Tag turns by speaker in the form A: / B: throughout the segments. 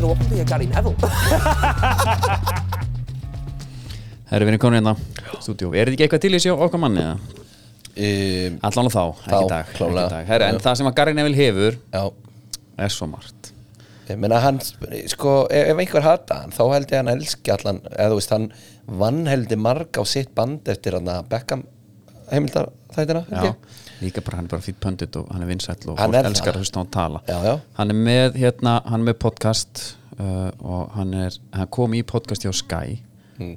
A: nú opnum ég Gary Neville
B: Herri, við erum komin hérna Stúdíó, er þetta ekki eitthvað til í sjá okkar manni? eða?
C: um,
B: Allan á þá, ekki í
C: Þá,
B: dag, ekki í
C: klárlega.
B: dag. Herri, En það sem að Gary Neville hefur
C: Já
B: er svo margt
C: Ég meina hann, sko, ef ef einhver hata hann þá held ég hann elski allan eða þú veist, hann vannheldi marg á sitt band eftir hann að Beckham heimildar þættina held
B: Já,
C: ég.
B: líka bara, hann er bara fýtt pöndit og hann er vinsæll og
C: Hann
B: fólk
C: er
B: elskar
C: það.
B: að hlusta á hann tala
C: Já, já.
B: Hann er með, hérna, hann er með podcast uh, og hann er, hann kom í podcast hjá Sky Og er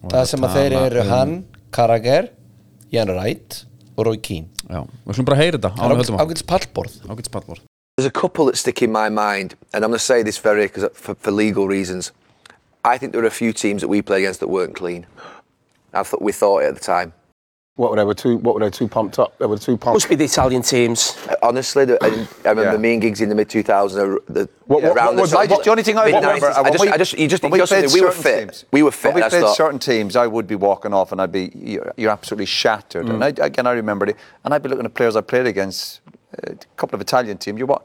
C: Hmm. það sem að þeir
B: tala
C: eru
B: um-
C: hann, Karager Jan Wright og Roy Keane
B: Já, við ætlum bara að heyra þetta
C: Það
B: áður en
C: er
B: við höldum á.
C: ágætis pallborð
B: Ágætis pallborð
D: There's a couple that stick in my mind, and I'm going to say this very cause uh, for, for legal reasons. I think there are a few teams that we play against that weren't clean. I thought we thought it at the time.
E: What were they? Were two? What were they? Two pumped up. They were two pumped.
A: Must be the Italian teams
D: Honestly, the- I, I remember
E: Yeah.
D: me and Giggs in the mid 2000s. uh, The,
E: What- what-
D: around
E: what was
D: the,
E: I just- the only thing I
D: mid-
E: remember-
D: 90s, I
E: when
D: just,
E: we-
D: I just, you just think
E: when we
D: we,
E: played
D: we were
E: certain
D: fit.
E: teams-
D: We were
E: when
D: fit.
E: we
D: that's
E: played
D: not-
E: certain teams, I would be walking off, and I'd be you're, you're absolutely shattered. And
D: Mm.
E: I, again, I remembered it, and I'd be looking at players I played against, uh, a couple of Italian teams. You what?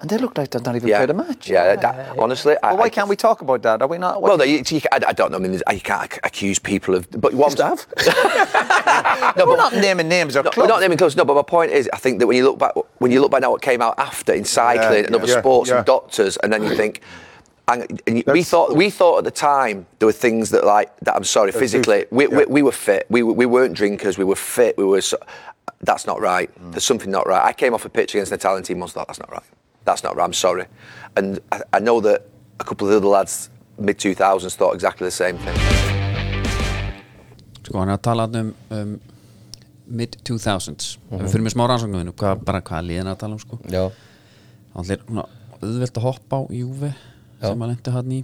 E: And they looked like they'd not even
D: yeah,
E: played a match.
D: Yeah, that, honestly. I-
E: Well, why
D: I-
E: can't we talk about that? Are we not?
D: Well, no, you, you, I, I don't know. I mean, I can't ac- accuse people of. But what I'm-
E: Staff? no, we're not naming names or
D: No, we're
E: clubs.
D: not naming close. No, but my point is, I think that when you look back, when you look back now, what came out after in cycling
E: Yeah,
D: and
E: yeah,
D: other
E: yeah,
D: sports
E: yeah.
D: and doctors, and then you think, and, and you- we
E: That's-
D: thought we thought at the time there were things that like that. I'm sorry, physically, we, we, we were fit. We, were- we weren't drinkers. We were fit. We were. So, that's not right. There's something not right. I came off a pitch against an Italian team once. Thought that's not right. That's not right. I'm sorry, and I, I know that a couple of the other lads mid 2000s thought exactly the same thing.
B: Sko, hann er að tala þarna um, um mid-2000s
C: Mhm.
B: Við fyrir mér smá rannsóknuðinu, hvað, bara hvað liðin er að tala um sko
C: Já,
B: hann er svona auðvelt að hoppa á Júve sem hann lendi hann í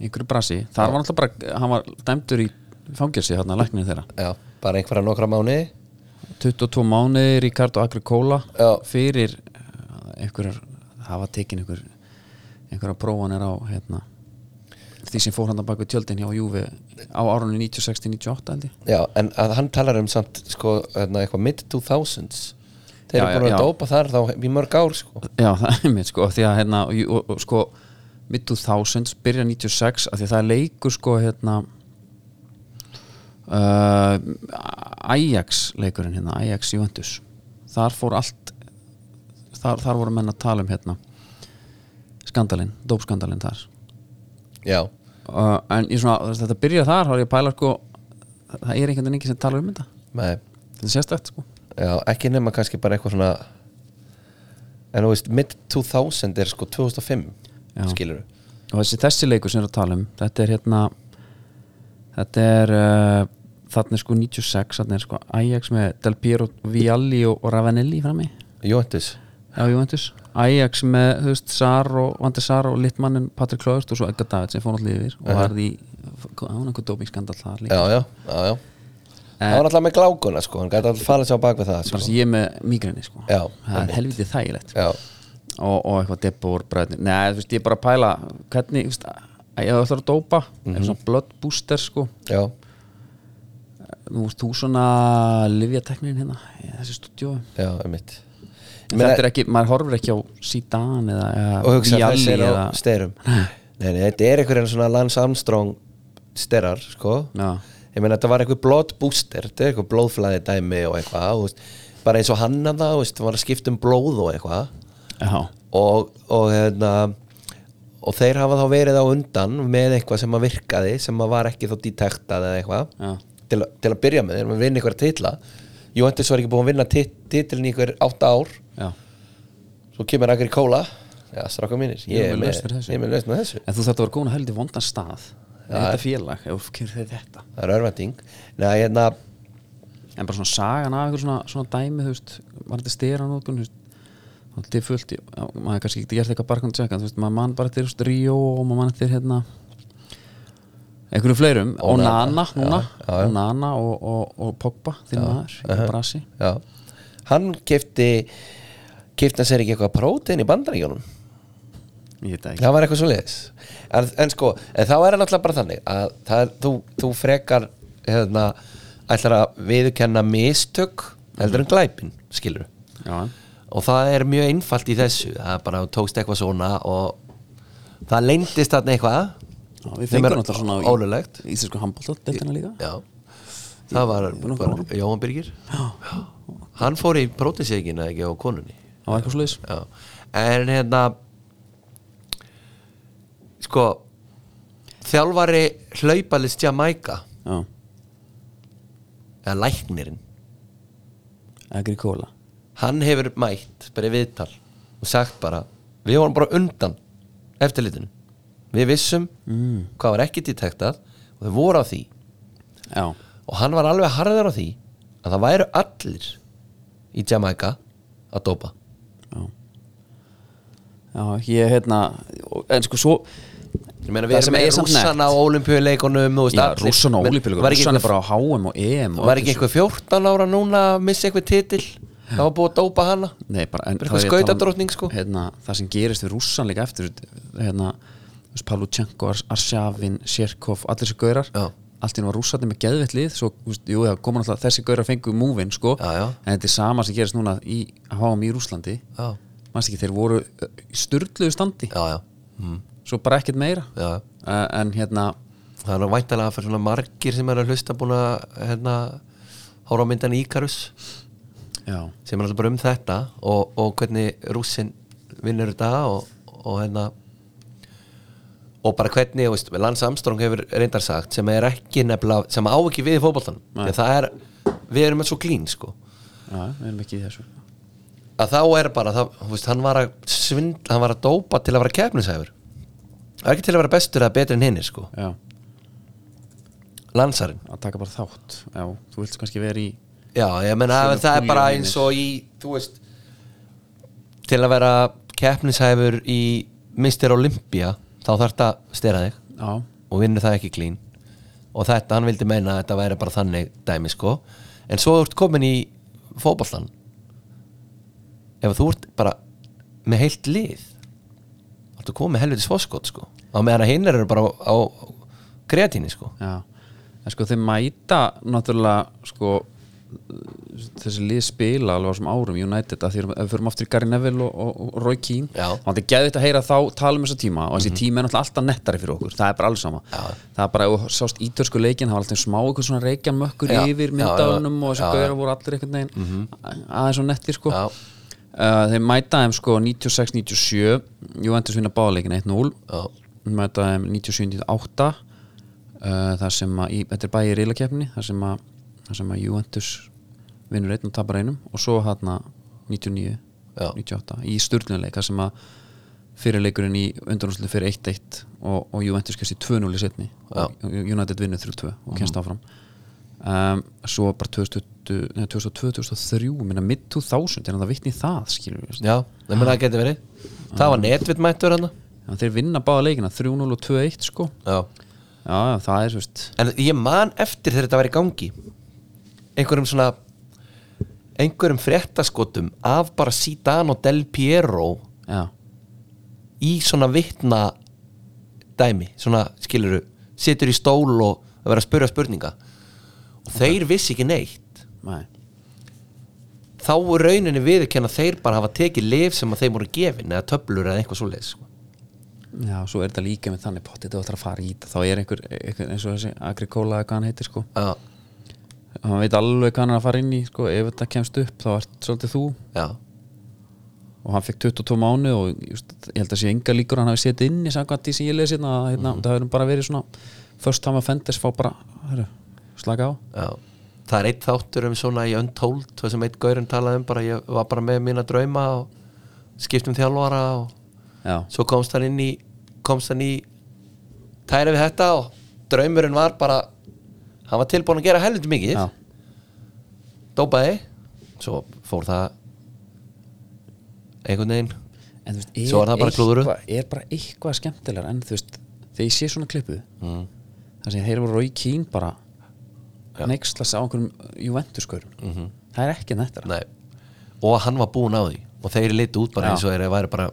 B: einhverju brasi, þar var alltaf bara hann var dæmdur í fangelsi hann að læknir þeirra
C: já, bara einhverja nokkra mánuði
B: 22 mánuði Ricardo Agricola
C: Já.
B: fyrir eh, einhverjar, hafa tekin einhver einhverjar prófanir á hérna því sem fór hann bak við tjöldin hjá Júve á árunni 96-98 held ég
C: Já, en að hann talar um samt, sko, hérna, eitthvað mid-2000s Þeir
B: Já,
C: eru
B: já,
C: búin
B: já.
C: að dópa þar þá í mörg ár, sko
B: Já, það er mitt sko því að hérna, og, og, og, sko, mid 2000 byrja 96, af því að það er leikur sko hérna uh, Ajax leikurinn hérna, Ajax Juventus þar fór allt þar, þar voru menn að tala um hérna skandalinn, dópskandalinn þar
C: Já,
B: uh, en ég svona, þú veist, þetta byrja þar þá er ég að pæla sko, það er einhvern veginn ekki sem talar um þetta,
C: með
B: þetta er sérstætt sko
C: Já, ekki nema kannski bara eitthvað svona En þú veist, mid-2000 er sko 2005
B: Já.
C: Skilur
B: og þessi, þessi leikur sem við erum að tala um þetta er hérna þetta er uh, þarna er sko 96, þarna er sko Ajax með Del Piero, Vialli og, og Ravanelli frammi
C: Jóhannes
B: á Juventus Ajax með, þú veist, Sar og Vandi Sar og Littmannin Patrik Klaust og svo Edgar Davids sem fór náttúrulega yfir og varði í, hann einhver dopingskandal þar líka
C: Já, já, já, já Það var alltaf með glákuna sko, hann gæti alltaf farið sér á bak við það
B: bara
C: sko.
B: sem ég er með migræni sko
C: Já,
B: það er helviti þægilegt
C: Já,
B: og, og eitthvað debor bræðni neða, þú veist, ég er bara að pæla hvernig, þú veist, að ég ætlar að dópa
C: Mhm.
B: mm -hmm. svona blood booster sko
C: já,
B: Nú ert þú svona livjateknin hérna í þessu stúdíu
C: já, einmitt
B: Þetta er ekki, maður horfir ekki á Sídan eða,
C: Og
B: eða
C: hugsa þessi er
B: eða
C: á styrum Nei, nei, þetta er einhverjum svona Lance Armstrong styrar sko
B: Já,
C: ég meina þetta var eitthvað blood booster þetta er eitthvað blóðflæði dæmi og eitthvað þú veist, bara eins og hann að það, þú veist, var að skipta um blóð og eitthvað
B: já,
C: og, og hérna og þeir hafa þá verið á undan með eitthvað sem að virkaði, sem að var ekki þá detektað eða eitthvað
B: Já.
C: til, að- til að byrja með, þeir eru að vinna ykkur titla Jóhannes var ekki búin að vinna tit, titlin í ykkur átta ár,
B: já
C: svo kemur akkur í kóla já, stráka mínir,
B: Ég
C: ég
B: er
C: er
B: með
C: með
B: lausn fyrir þessu.
C: ég er með lausn með þessu
B: En þú þarf að vera góðan að heldur vondan stað ja. Þetta félag, ef þú kemur þeir þetta
C: það er örvending Nei, hérna,
B: En bara svona sagan af einhver svona, svona dæmi þú veist, var þetta stera nótkun Það er fullt, í- já, maður kannski ekki gert eitthvað barkandi tjekka, þú veist, maður mann bara til þú veist, Ríó og maður mann til hérna einhverjum fleirum, Onana núna, Onana og, og, og Pogba, þinn maður, uh Brasi
C: já hann kefti kefti hann sér ekki eitthvað prótein í bandaríkjónum
B: Ég veit það ekki
C: það var eitthvað svo leiðis en, en sko, en þá er það náttúrulega bara þannig að það, er- þú, þú frekar hérna, ætlar að viðurkenna mistök heldur en glæpin skilur
B: Já,
C: og það er mjög einfalt í þessu það er bara, þú tókst eitthvað svona og það leyndist þarna eitthvað
B: Já, við
C: Sem er
B: fengum náttúrulega svona í-
C: ólöglegt.
B: í Íslensku handbóltadeltina líka
C: já, það var,
B: Búin að
C: var
B: fá
C: Jóhann Birgir Já. hann fór í prótisíkina ekki á konunni
B: Það var eitthvað slags
C: já. en hérna sko þjálfari hlaupalist Jamaica
B: Já,
C: eða læknirinn
B: Agricola
C: hann hefur mætt bara í viðtal og sagt bara við vorum bara undan eftirlitinu við vissum hvað var ekki detektað og þau voru á því
B: Já,
C: og hann var alveg harður á því að það væru allir í Jamaica að dopa
B: já, ég hérna En sko svo
C: ég meina
B: Það
C: við erum
B: sem
C: með
B: er samt
C: rússana
B: nekt.
C: á olimpíuleikunum þú veist,
B: Já,
C: allir.
B: rússan og
C: Men
B: ólípilegur
C: var ekki
B: Rússan er
C: einhver-
B: bara á HM og EM og
C: var
B: öllu
C: ekki
B: þessu.
C: eitthvað 14 ára núna að missa eitthvað titil það var búið að dopa hana
B: Nei, bara en
C: Bara
B: það
C: eitthvað
B: er-
C: skautadrottning, sko.
B: um, hérna, Það sem gerist við rússan líka eftir hérna, þú veist, Palutjenko, Ars- Arsjavin, Sjerkov Allir þessi gaurar
C: Já.
B: Allt í nú var rússarnir með geðveitt lið Svo, þú veist, jú, það koma náttúrulega þessi gaurar fengu múvin sko.
C: Já, já.
B: En þetta er sama sem gerist núna í HM í Rúslandi
C: já,
B: Manst ekki, þeir voru styrluðu standi
C: já, já,
B: Svo bara ekkert meira
C: já.
B: uh, En hérna
C: það er nú væntalega fyrir svona margir sem er að hlusta búin að hérna, hóra á myndan Íkarus
B: Já,
C: sem er alltaf bara um þetta og, og hvernig rússin vinnur þetta og, og hérna og bara hvernig, þú veist, Lance Armstrong hefur reyndar sagt sem er ekki nefnilega sem á ekki við í fótboltanum En það er, við erum alltaf svo klín sko
B: já, við erum ekki í þessu
C: að þá er bara, það, þú veist, hann var að svind, hann var að dópa til að vera kefnishæfur það er ekki til að vera bestur eða betri en hinnir sko,
B: Já,
C: Lansarinn
B: að taka bara þátt Já, þú vilt kannski vera í
C: Já, ég menna
B: Svona
C: það er bara
B: púljónir.
C: eins og í þú veist til að vera keppnishæfur í Mr. Olympia þá þarf þetta að stera þig
B: Já,
C: og vinnur það ekki klín og þetta, hann vildi meina að þetta væri bara þannig dæmi sko, en svo þú ert komin í fótbollan ef þú ert bara með heilt lið þá ertu komin með helviti svoskot sko á meðan að hinn eru bara á, á kreatíni sko
B: Já, en sko þeir mæta náttúrulega sko þessi lið spila alveg á þessum árum United að því að við förum aftur í Gary Neville og, og, og Roy Keane
C: Já. Mhm.
B: og þetta er geðvitt að heyra þá tala um þessa tíma og þessi tíma er náttúrulega alltaf nettari fyrir okkur það er bara alls sama
C: Já.
B: það er bara, og sást ítörsku leikin það var alltaf smá eitthvað svona reikjamökkur
C: Já.
B: yfir
C: Já,
B: myndaðunum
C: já,
B: og þessi
C: já, já.
B: gauðar voru allir einhvern veginn aðeins og nettir sko
C: Já.
B: Uh, þeir mæta þeim sko 96-97 Juventus vinna báleikin 1-0
C: Já.
B: mæta þeim 97-98 uh, þar sem að í, þetta er bæði í reylakefni þar sem að, þar sem að Juventus vinnur einn og tapar einum og svo hann 99
C: Já.
B: 98 í styrlunuleik þar sem að fyrirleikurinn í undanúslu fyrir 1-1 og, og Juventus kæst í 2-0 í setni og United vinnur 3-2 og kennst
C: Mhm.
B: áfram um, svo bara 2002-2003 minna mid-2000 er hann það vitni í það skilur við
C: já, það meina það geti verið það var netvit mættur hann
B: Já, þeir vinna báða leikina 3-0 og 2-1 sko
C: já
B: já, já, það er svo veist
C: En ég man eftir þegar þetta var í gangi einhverjum svona einhverjum fréttaskotum af bara Zidane og Del Piero
B: já,
C: í svona vitna dæmi, svona skiluru situr í stól og að vera að spurja spurninga og þeir vissi ekki neitt
B: nei,
C: þá er rauninni viðurkenna þeir bara hafa tekið lif sem að þeim voru gefin eða töflur eða eitthvað svoleiðis sko.
B: já, svo er þetta líka með þannig pottið þú ætlar að fara í þetta, þá er einhver, einhver eins og þessi Agricola eða hvað hann heitir sko
C: Já,
B: hann veit alveg hvað hann er að fara inn í sko ef þetta kemst upp þá ert svolítið þú
C: já,
B: og hann fekk 22 mánu og just, ég held að sé enga líkur að hann hafi setið inn í samkvæmt því sem ég lesi hérna, að, hérna það hefur bara verið svona first time offenders fá bara, herru, slaka á
C: já Það er eitt þáttur um svona í Untold það sem eitt gaurinn talaði um bara ég var bara með mína drauma og skiptum þjálfara og
B: já,
C: svo komst hann inn í komst hann í tæri við þetta og draumurinn var bara hann var tilbúin að gera helviti mikið
B: já,
C: dópaði svo fór það einhvern veginn
B: en þú veist,
C: Svo er það bara klúðurinn.
B: eitthvað, er bara eitthvað skemmtilegar en þú veist, þegar ég sé svona klippu mm. það sem þeir eru Rói Kín bara neikslas á einhverjum Juventus-kaurum
C: Mhm.
B: -hmm. það er ekki nættara
C: Nei. og hann var búin á því og þeir litu út bara
B: Já.
C: eins og þeir væri bara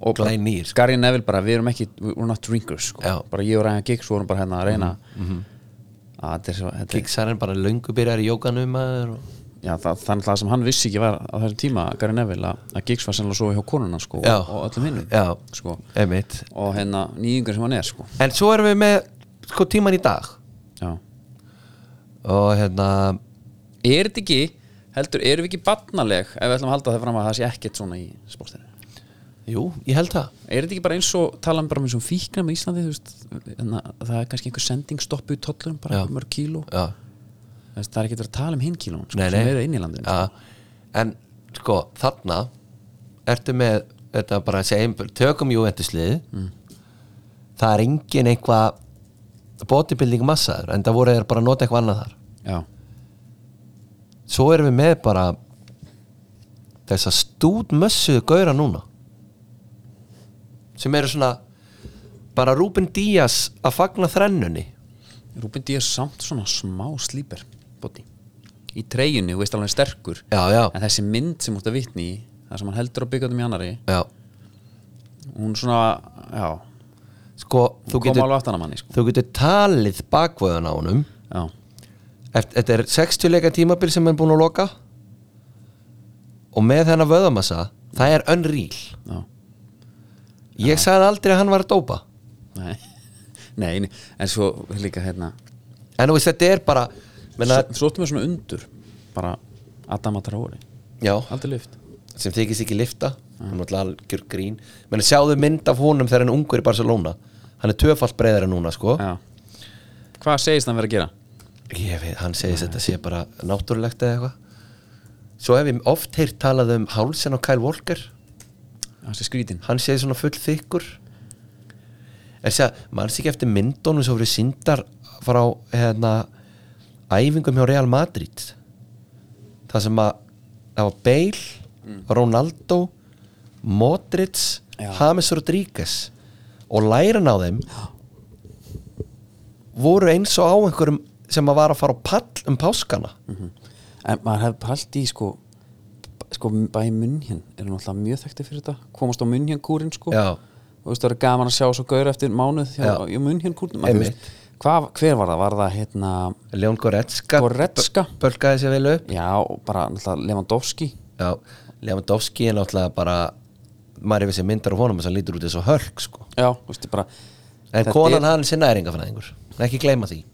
B: og bara-
C: glæn nýr
B: Gary Neville bara, við erum ekki we're not drinkers, sko.
C: sko. Já. Mhm,
B: bara ég og Ryan Giggs vorum bara hérna að reyna að þetta er svo þetta er-
C: kiksarinn bara löngu byrjar í jókanum maður og
B: já, það, þannig að það sem hann vissi ekki var á þessum tíma, Gary Neville, að, að Giggs var sennilega svo hjá konuna sko,
C: Já.
B: og, og öllum hinnum
C: Já.
B: sko,
C: einmitt
B: og hérna nýjungur sem hann er sko.
C: En svo erum við með sko tíman í dag
B: já.
C: og hérna
B: er þetta ekki heldur, erum við ekki barnaleg ef við ætlum að halda það fram að það sé ekkert svona í sportinu
C: Jú, ég held það
B: er þetta ekki bara eins og tala um bara með svona fíkna með Íslandi, þú veist hérna, það er kannski einhver sending stoppu í tollurum bara
C: Já.
B: einhver mörg kíló,
C: Já,
B: Þú veist, það er ekki verið að tala um hinn kílón sko,
C: nei, nei
B: sem eru inn í landinu
C: Já, En sko, þarna ertu með, þetta bara að segja tökum júventuslið mm. það er engin eitthvað bodybuilding massaður en það voru þeir bara að nota eitthvað annað þar
B: já,
C: Svo erum við með bara þess að stúdmössuðu gauðra núna sem eru svona bara Ruben Díaz að fagna þrennunni
B: Rúbin D er samt svona smá slíper bóti í treyjunni, þú veist alveg hann er sterkur
C: Já, já.
B: en þessi mynd sem þú ert að vitni í það sem hann heldur á byggandum í annari
C: Já,
B: hún svona, já,
C: sko, þú
B: þú kom
C: getur,
B: alveg aftan að manni sko.
C: þú getur talið bakvöðun á honum
B: já,
C: Eft- Þetta er 60 leika tímabil sem hann er búin að loka og með þennan vöðamassa það er unreal
B: já,
C: Ég sagði aldrei að hann var að dópa
B: nei nei, nei, en svo líka hérna
C: en þú veist, þetta er bara menna,
B: svo, svo ertu með svona undur bara Adam að trári
C: Já,
B: aldrei lyft
C: sem þykist ekki lifta hann var algjör grín menn sjáðu mynd af honum þegar hann er ungur í Barcelona hann er töfalt breyðari núna sko
B: já. hvað segist hann verið að gera?
C: ég veit, hann segist þetta sé bara náttúrulegt eða eitthvað svo hef ég oft heyrt talað um hálsen á Kyle Walker
B: það sé skrítin
C: hann segir svona full þykkur en segja, mann sé ekki eftir myndunum sem voru sindar frá hérna, æfingum hjá Real Madrid það sem að það var Bale, Ronaldo Modric
B: Mm. Já.
C: James Rodríguez og lærin á þeim voru eins og á einhverjum sem að var að fara á pall um páskana
B: Mm. en maður hefði pælt í sko sko bæði munnhjön eru náttúrulega mjög þekkti fyrir þetta komast á munnhjön kúrin sko
C: Já.
B: og þú veist það eru gaman að sjá svo gaur eftir mánuð hjá,
C: Já.
B: hjá munnhjön kúrin
C: Einmitt.
B: hvað, hver var það? var það hérna
C: Leon Goretzka,
B: Goretzka.
C: böl- bölkaði sér vel upp
B: já, og bara náttúrulega Lewandowski
C: Já, Lewandowski er náttúrulega bara maður hefur sér myndar á honum þess að hann lítur út eins og hölk sko.
B: já, þú veist bara
C: en
B: þetta
C: konan
B: er,
C: hans er næringafræðingur ekki gleyma því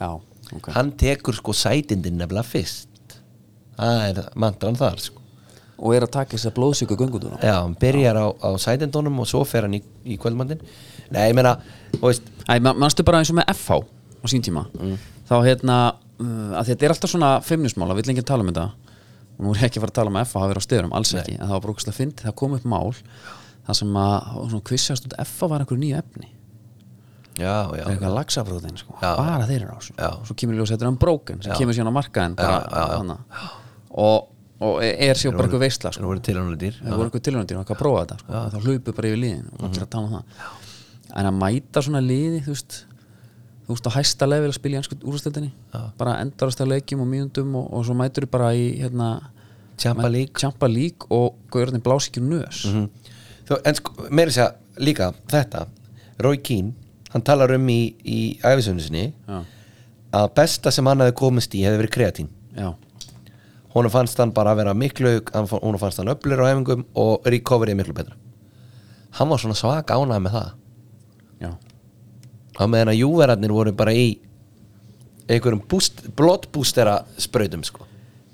B: já, ok
C: hann tekur sko sætindin nefnilega fyrst það er mantran þar sko.
B: og er að taka þess að blóðsíku göngutuna
C: já, hann byrjar á, á sætindunum og svo fer hann í, í kvöldmandin nei, ég meina, þú veist
B: Æ, man, manstu bara eins og með FH á sín tíma
C: Mm.
B: þá hérna, uh, að þetta er alltaf svona feimnismál, að vill enginn tala um þetta og nú er ég ekki að fara að tala um að FH hafa verið á stöðurum, alls ekki, en það var brókislega fyndi, það kom upp mál það sem að, það var svona kvissjast út FH var einhverju nýju efni,
C: já,
B: það
C: já,
B: er eitthvað lagsabróðin sko,
C: Já.
B: bara þeir eru á þessu
C: Já.
B: svo kemur í ljós þetta er um brókin, sem kemur síðan á markaðin bara, já, og, og e-, er sér bara einhver veistla sko
C: það voru til hann dýr
B: það voru einhver tilhörndir og eitthvað að prófa þetta sko. þá hlaupu bara yfir liðin og allir að tala um það en að mæta svona liði þú veist, þú veist á hæsta level að spila í ennsku úrstöldinni bara endarast að leikjum og mínundum og, og svo mætur þú bara í hérna,
C: Champa League. Mhm.
B: Champa League og gaurðin blás ekki um nös
C: Þó, en sko, meira að segja líka þetta Roy Keane, hann talar um í, í æfisöfnu sinni
B: Já.
C: að besta sem hann hefði komist í hefði verið kreatín
B: já,
C: honum fannst hann bara að vera miklu hann fa- honum fannst hann öflur á æfingum og recovery miklu betra hann var svona svag ánað með það
B: já,
C: á meðan að júverarnir voru bara í einhverjum boost, blottbústera sprautum sko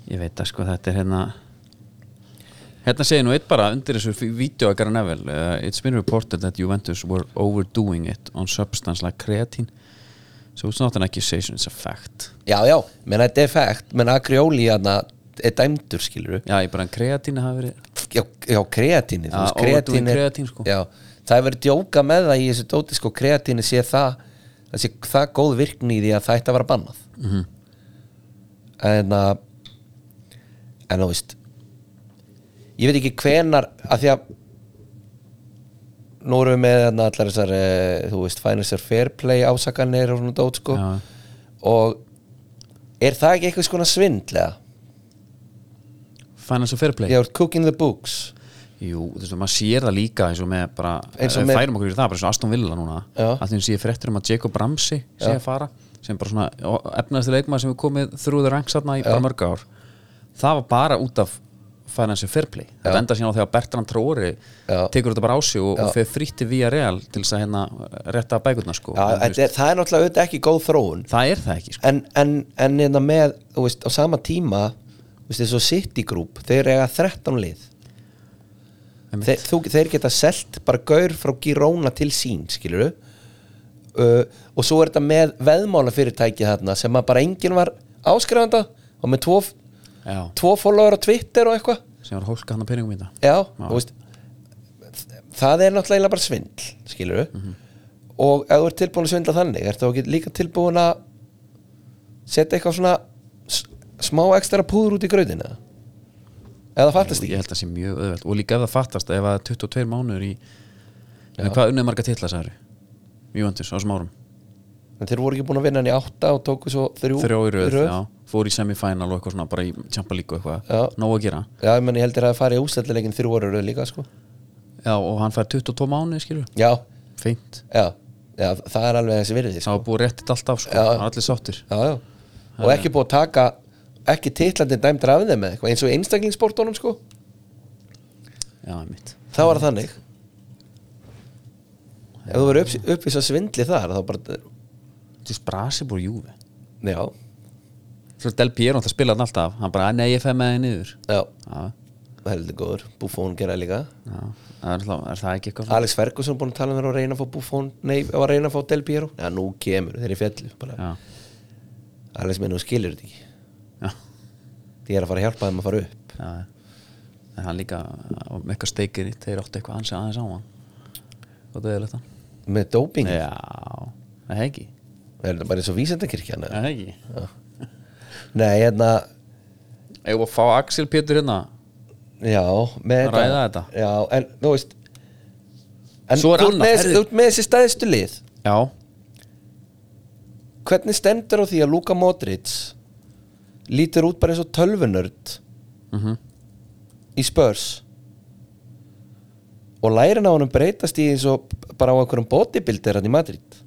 B: ég veit að sko þetta er hérna Hérna segir nú eitt bara undir þessu fí- vídeo að Gary Neville uh, It's been reported that Juventus were overdoing it on substance like creatine So it's not an accusation, it's a fact
C: já já, menn þetta er fægt menn Agrioli hann er dæmdur skilur
B: Já, ég bara kreatínu hafi verið
C: já, já kreatíni,
B: Já, overdoing kreatín, sko.
C: já, það hefur verið djóka með það í þessu dóti sko, kreatíni sé það það sé það góð virkni í því að það ætti að vera bannað -hmm.
B: Mhm.
C: en að en þú veist ég veit ekki hvenar að því að nú erum við með þarna allar þessar eh, þú veist, financial fair play ásakanir og svona dót sko
B: Já.
C: og er það ekki eitthvað skona svindlega?
B: Financial fair play
C: Ég hefur cooking the books
B: Jú, þú veist, maður sér það líka eins og með bara
C: Eins
B: eins
C: og
B: og
C: með-
B: færum okkur í það, bara eins og Aston Villa núna
C: Já.
B: að því hún sé fréttur um að Jacob Ramsey sé að fara sem bara svona efnaðasti leikmaður sem er komið through the ranks þarna í bara mörg ár það var bara út af financial fair play þetta endar síðan á þegar Bertrand Traori
C: Já.
B: tekur þetta bara á sig og, og fer frítti via real til þess að hérna retta bækurnar sko
C: Já,
B: En, þú
C: þetta
B: veist,
C: er, það er náttúrulega auðvitað ekki góð þróun
B: það er það ekki sko.
C: en, en, en hérna með þú veist, á sama tíma þú veist, þessu City Group, þeir eiga 13 lið
B: Einmitt.
C: þeir, þú, þeir geta selt bara gaur frá Girona til sín skilur uh, og svo er þetta með veðmálafyrirtæki þarna sem að bara enginn var áskrifanda og með tvo,
B: Já,
C: tvo follower á Twitter og eitthvað
B: sem var að hólka hann að peningum í þetta
C: Já, þú veist það er náttúrulega bara svindl skilur og ef þú ert tilbúin að svindla þannig ert þú ekki líka tilbúin að setja eitthvað svona s- smá ekstra púður út í gröðina eða það fattast
B: ég
C: ekki
B: held að það sé mjög öðvöld og líka ef það fattast ef að 22 mánuður í en hvað unnið marga titla sagður Juventus á þessum árum
C: en þeir voru ekki búin að vinna hann í átta og tóku svo þrjú
B: þrjá í röð,
C: röð.
B: já, fór í semifinal og eitthvað svona bara í Champa League og
C: Já.
B: eitthvað nóg að gera
C: Já, ég menn ég heldur að það fari í úsleitleikin þrjú voru röð líka sko
B: já, og hann fær 22 mánuði skilur
C: já,
B: feint,
C: já, já, það er alveg þessi virði
B: það
C: sko.
B: var búið réttið allt af sko,
C: Já.
B: það var allir sáttir
C: já, já. og ekki búið að taka ekki titlandin dæmdur af þeim eða eitthvað eins og í einstaklingssportunum sko
B: já, mitt,
C: Það var það þannig Ef þú verður upp, uppvís að svindli þar þá bara,
B: þú veist Brasi búið Júve
C: já,
B: svo Del Piero alltaf spilaði hann alltaf hann bara, nei, ég fæ með þið niður
C: já
B: já,
C: það er heldur góður, Buffon gera líka
B: já, það er, alltaf, er það ekki eitthvað svona?
C: Alex Ferguson búin að tala um þér að reyna að fá Buffon nei, að reyna að fá Del Piero já, nú kemur, þeir eru í fjallu bara.
B: já,
C: Alex minn, þú skilur þetta ekki
B: já,
C: því er að fara að hjálpa þeim að fara upp
B: já en hann líka, og með eitthvað steikir í þeir áttu eitthvað ansið aðeins á hann og það er þetta
C: með doping,
B: já, það er ekki
C: það er þetta bara eins og vísendakirkjan
B: það er ekki
C: nei, hérna,
B: Eða að fá Axel Pétur hérna
C: já með
B: Að ræða þetta.
C: já, en þú veist en
B: Svo er
C: þú ert
B: annað,
C: með,
B: herðu.
C: þessi- þú ert með þessi stæðstu lið
B: Já,
C: hvernig stendur á því að Luka Modric lítur út bara eins og tölvunörd
B: Mhm.
C: í spörs og lærin á honum breytast í eins og bara á einhverjum bodybuilder hann í Madrid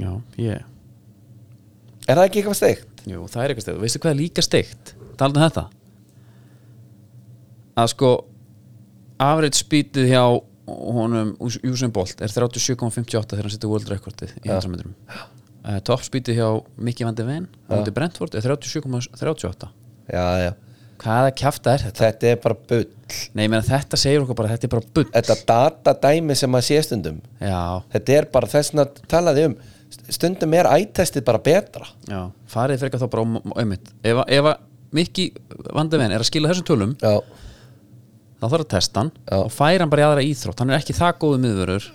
B: já, ég
C: er það ekki eitthvað steikt?
B: Jú, það er eitthvað steikt, veistu hvað er líka steikt Talandi um þetta Að sko Average speedið hjá honum Us- Usain Bolt er 37,58 þegar hann setur world recordið í 100 metrum uh, Top speedið hjá Mickey Van de Ven og undir Brentford er 37,38
C: já, já,
B: Hvaða kjafta er þetta?
C: þetta er bara bull
B: Nei, ég meina þetta segir okkur bara, þetta er bara bull
C: þetta datadæmi sem maður sé stundum
B: Já,
C: þetta er bara þess að talaði um stundum er ættestið bara betra
B: já, farið frekar þá bara um, einmitt, ef, að- ef að Mickey Van de Ven er að skila þessum tölum
C: já,
B: þá þarf að testa hann
C: Já.
B: og færa hann bara í aðra íþrótt hann er ekki það góðu miðvörur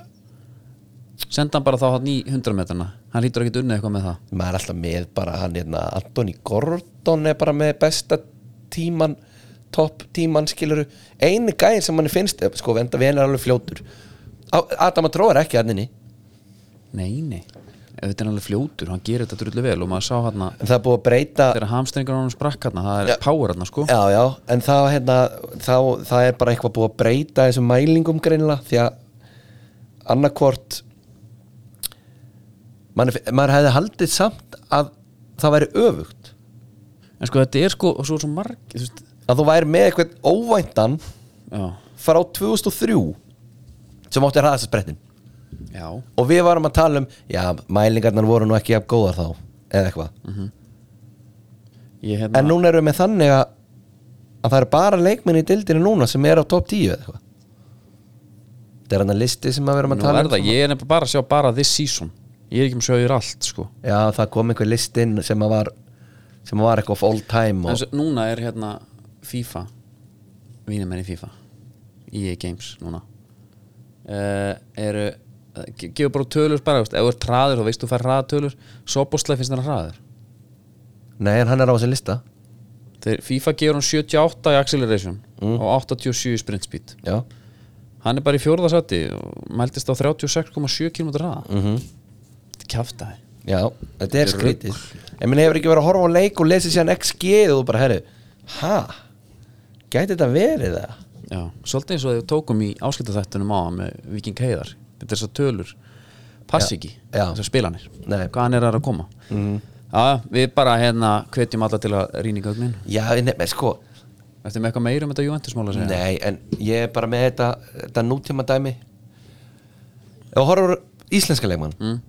B: senda hann bara þá hann í 100 metrana hann lítur ekki unnið eitthvað með það
C: maður er alltaf með bara hann hérna Anthony Gordon er bara með besta tíman topp tíman skiluru einu gæðin sem manni finnst sko venda við er alveg fljótur Á- Adam að tróða er ekki hann inni
B: nei, nei, ef þetta er alveg fljótur hann gerir þetta drullu vel og maður sá hann
C: en það er búið að breyta
B: þegar hamstringar á hann sprakk hann það er
C: Já.
B: power hann sko
C: já já en þá hérna þá, það er bara eitthvað búið að breyta þessum mælingum greinilega því að annarkvort maður, maður hefði haldið samt að það væri öfugt
B: en sko þetta er sko, og svo er svo marg þú veist,
C: að þú væri með eitthvað óvæntan
B: já,
C: frá 2003 sem átti að ræðast sprettin
B: já,
C: og við varum að tala um já, mælingarnar voru nú ekki jafn góðar þá eða eitthvað,
B: Mhm. ég
C: en
B: hérna
C: núna erum við þannig að, að það eru bara leikmenn í dildinu núna sem er á top 10 eða eitthvað þetta er hann að listi sem að vera
B: nú
C: að tala
B: er það, ég er nefnilega bara að sjá bara this season ég er ekki með sjöður allt sko
C: já, það kom einhver listin sem að var sem að var eitthvað of all time
B: en
C: og,
B: svo, núna er hérna FIFA mínum menn í FIFA EA Games núna uh, eru eh, ge- gefur bara tölur bara, veist, ef þú ert hraður þá veist þú fær hraðatölur Soboslega finnst hann hraður
C: nei, en hann er á þessum lista
B: Þeir, FIFA gefur hann 78 í acceleration Mm. og 87 í sprint speed
C: já,
B: hann er bara í fjórðasæti og mæltist á 36,7 km hraða mm -hmm. þetta kjafta
C: já, þetta er skrítið en minn hefur ekki verið að horfa á leik og lesi síðan XG og þú bara, herri, ha gæti þetta verið það
B: Já, svolítið eins og þegar við tókum í áskiptaþættunum á með Viking Heiðar þetta er svo tölur pass
C: Já.
B: ekki
C: Já.
B: þessar spilanir,
C: Nei. Mhm.
B: hvaðan er það að koma mm. já, við bara hérna hvetjum alla til að rýninga ögnin
C: Já, nefnir, sko
B: eftir með eitthvað meira um þetta Juventus-mála að segja
C: Nei, en ég er bara með þetta, þetta nútíma dæmi Ef þú horfur íslenska leikmann mm.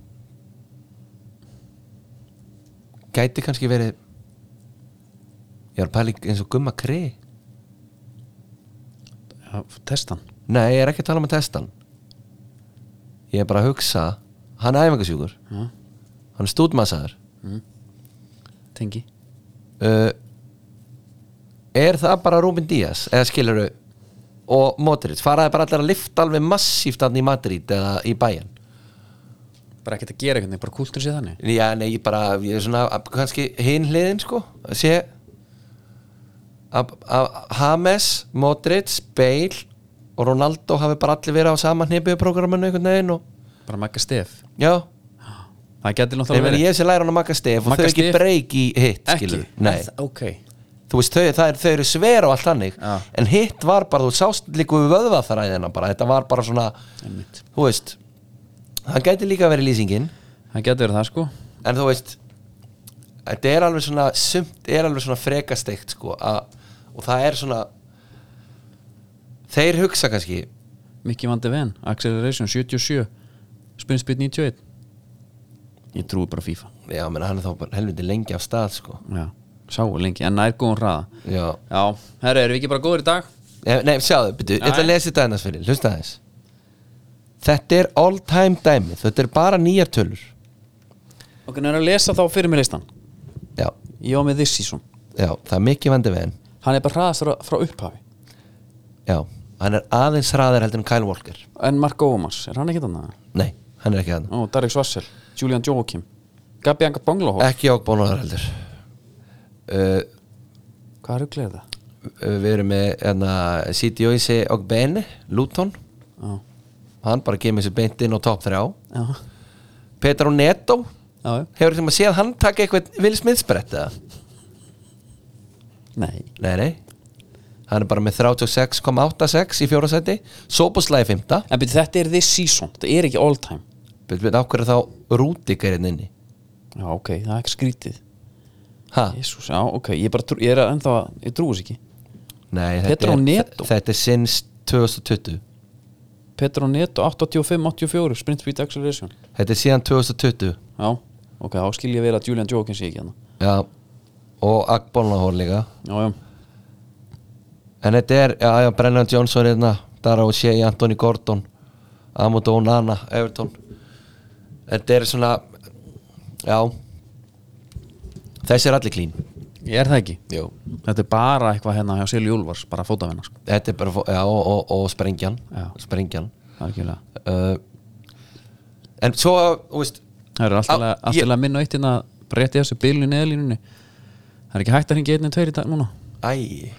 C: Gæti kannski verið Ég var pæli eins og gumma kri
B: Já, testa hann
C: Nei, ég er ekki að tala um að testa hann Ég er bara að hugsa Hann er æfingasjúkur
B: Já.
C: Hann er stúdmassaður
B: tengi
C: uh, er það bara Rúmin Díaz eða skilurðu og Modric, faraði bara allir að lifta alveg massíft hann í Madrid eða í bæjan
B: bara ekkert að gera einhvern veginn, bara kúltur sér þannig
C: já, nei, ég bara, ég er svona að- kannski hinn hliðin, sko að sé að að James, Modric, Bale og Ronaldo hafi bara allir verið á sama hnipiðu prógraminu einhvern veginn og,
B: bara makka stef
C: já,
B: það getur
C: ég
B: náttúrulega
C: meni ég sé læra hann að Magga Stef og
B: Magga
C: þau ekki
B: Stef?
C: breyk í hitt, skilur
B: ekki, Er það- ok
C: þú veist, þau, það er, þau eru sver og allt þannig
B: Já.
C: en hitt var bara, þú sást líka við vöðva þar bara, þetta var bara svona
B: Einmitt.
C: þú veist það gæti líka verið lýsingin
B: það getur verið það sko
C: en þú veist þetta er alveg svona sumt er alveg svona frekasteikt sko a, og það er svona þeir hugsa kannski
B: Mikki Vandi Ven, Acceleration 77 Spunsbyt 91 ég trúi bara FIFA
C: já, menn hann er þá bara helviti lengi af stað sko
B: já, sáu lengi, en nær góðan hraða
C: já,
B: já, herru, erum við ekki bara góður í dag?
C: Eh, nei, sjáðu, byrju, ég ætla að lesa þetta ennast fyrir, hlusta aðeins þetta er all time dæmi þetta er bara nýjar tölur
B: ok, nú erum við að lesa þá fyrir mér listan
C: já,
B: ég á með this season,
C: Já, það er mikið vandi við henn
B: hann er bara hraðast frá, frá upphafi
C: Já, hann er aðeins hraðar heldur en Kyle Walker
B: en Marko Ómars, er hann ekki þannig?
C: Nei, hann er ekki aðeins
B: ó, Darek Svassel, Julian Jókim Gabi Anga Bonglaho,
C: Ekki ákbónaðar heldur uh,
B: hvað eru gleðið það?
C: Við erum með hérna, CDOIC og Bene, Luton
B: já,
C: Hann bara kemur sér beint inn á top 3
B: já,
C: Petro Neto
B: já, já.
C: Hefur þetta maður séð hann taka eitthvað Will Smith sprett eða?
B: nei
C: Nei, nei Hann er bara með 36,86 í fjóra seti Soboslæði fymta
B: en byrju, þetta er this season, þetta er ekki all time
C: Á hverju þá Rúdik er hérna inni
B: já, ok, það er ekki skrítið
C: Ha?
B: Jésús, já, ok, ég, bara, trú- ég er að- ennþá, ég trúis ekki
C: Nei,
B: Pedro
C: þetta er,
B: Neto.
C: þetta er sinns 2020
B: Petro Neto, 85-84, Sprint Speed Acceleration
C: Þetta er síðan 2020
B: Já, ok, þá skil ég vel að Julian Jókins sé ekki hérna
C: Já Og Agbólnahór líka
B: Já, já,
C: En þetta er, já, já, Brennan Johnson hérna Dara og Shea, Anthony Gordon Amund Onana, Everton Þetta er svona Já Þessi er allir klín
B: ég er það ekki
C: Jú
B: Þetta er bara eitthvað hérna hjá Silju Úlfars, bara fótafinna sko.
C: Þetta er bara, fó- já, og, og, og sprengjan
B: Já.
C: Sprengjan
B: Algjörlega.
C: uh, En svo, þú veist
B: Það eru alltaf
C: Á,
B: lega- alltaf
C: ég-
B: lega minna eitt hérna breytti þessu bylun eðlínunni Það er ekki hægt að hringja 1 2 í dag núna
C: Æ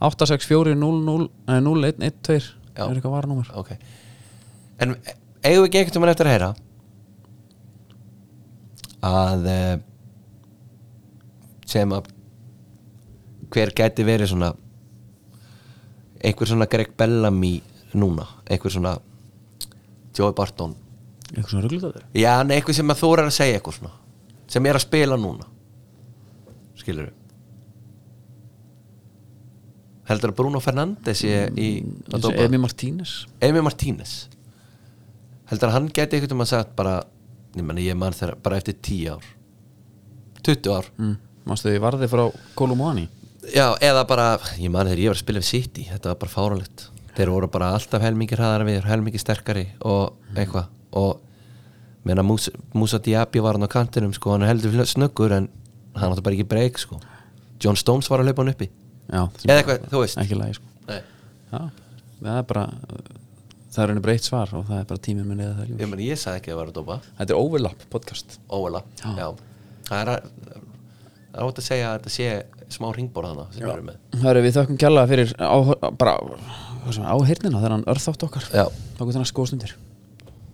B: 864 00 eh, 0112
C: Já.
B: er eitthvað varnúmer
C: ok en eigum við ekki einhvern veginn eftir að heyra að eh, sem að hver gæti verið svona einhver svona Greg Bellamy núna, einhver svona Joey Barton
B: Eitthvað svona ruglutaður
C: já, en einhver sem að þú er að segja eitthvað svona sem er að spila núna skilur við heldur að Bruno Fernandes sé í að dópa?
B: Emi Martínez
C: Emi Martínez heldur að hann gæti einhvern veginn að sagt bara ég, meni, ég man þegar bara eftir 10 ár 20 ár
B: mm. Manstu því varði frá Kolumani
C: já, eða bara, ég man þegar ég var að spila við City þetta var bara fáralegt þeir voru bara alltaf helmingi hraðar við helmingi sterkari og eitthvað og meina Musa, Musa Diaby var hann á kantinum sko, hann er heldur fl- snöggur en hann átti bara ekki breyk sko John Stones var að laupa hann uppi
B: Já,
C: eða eitthvað, þú veist
B: ekki lægi sko
C: Nei.
B: Já, það er bara það er einu breytt svar og það er bara tíminn minn eða það
C: ég,
B: ljós
C: meni, ég sagði ekki að það var að dopa
B: Þetta er overlap podcast
C: óvöla
B: Já.
C: já. það er að það er ótt að segja að þetta sé smá ringborð hana sem við erum með
B: Hörru, við þökkum kjallaða fyrir á, bara áheyrnina þennan örþátt okkar
C: Já.
B: Þakku þennan skóðstundir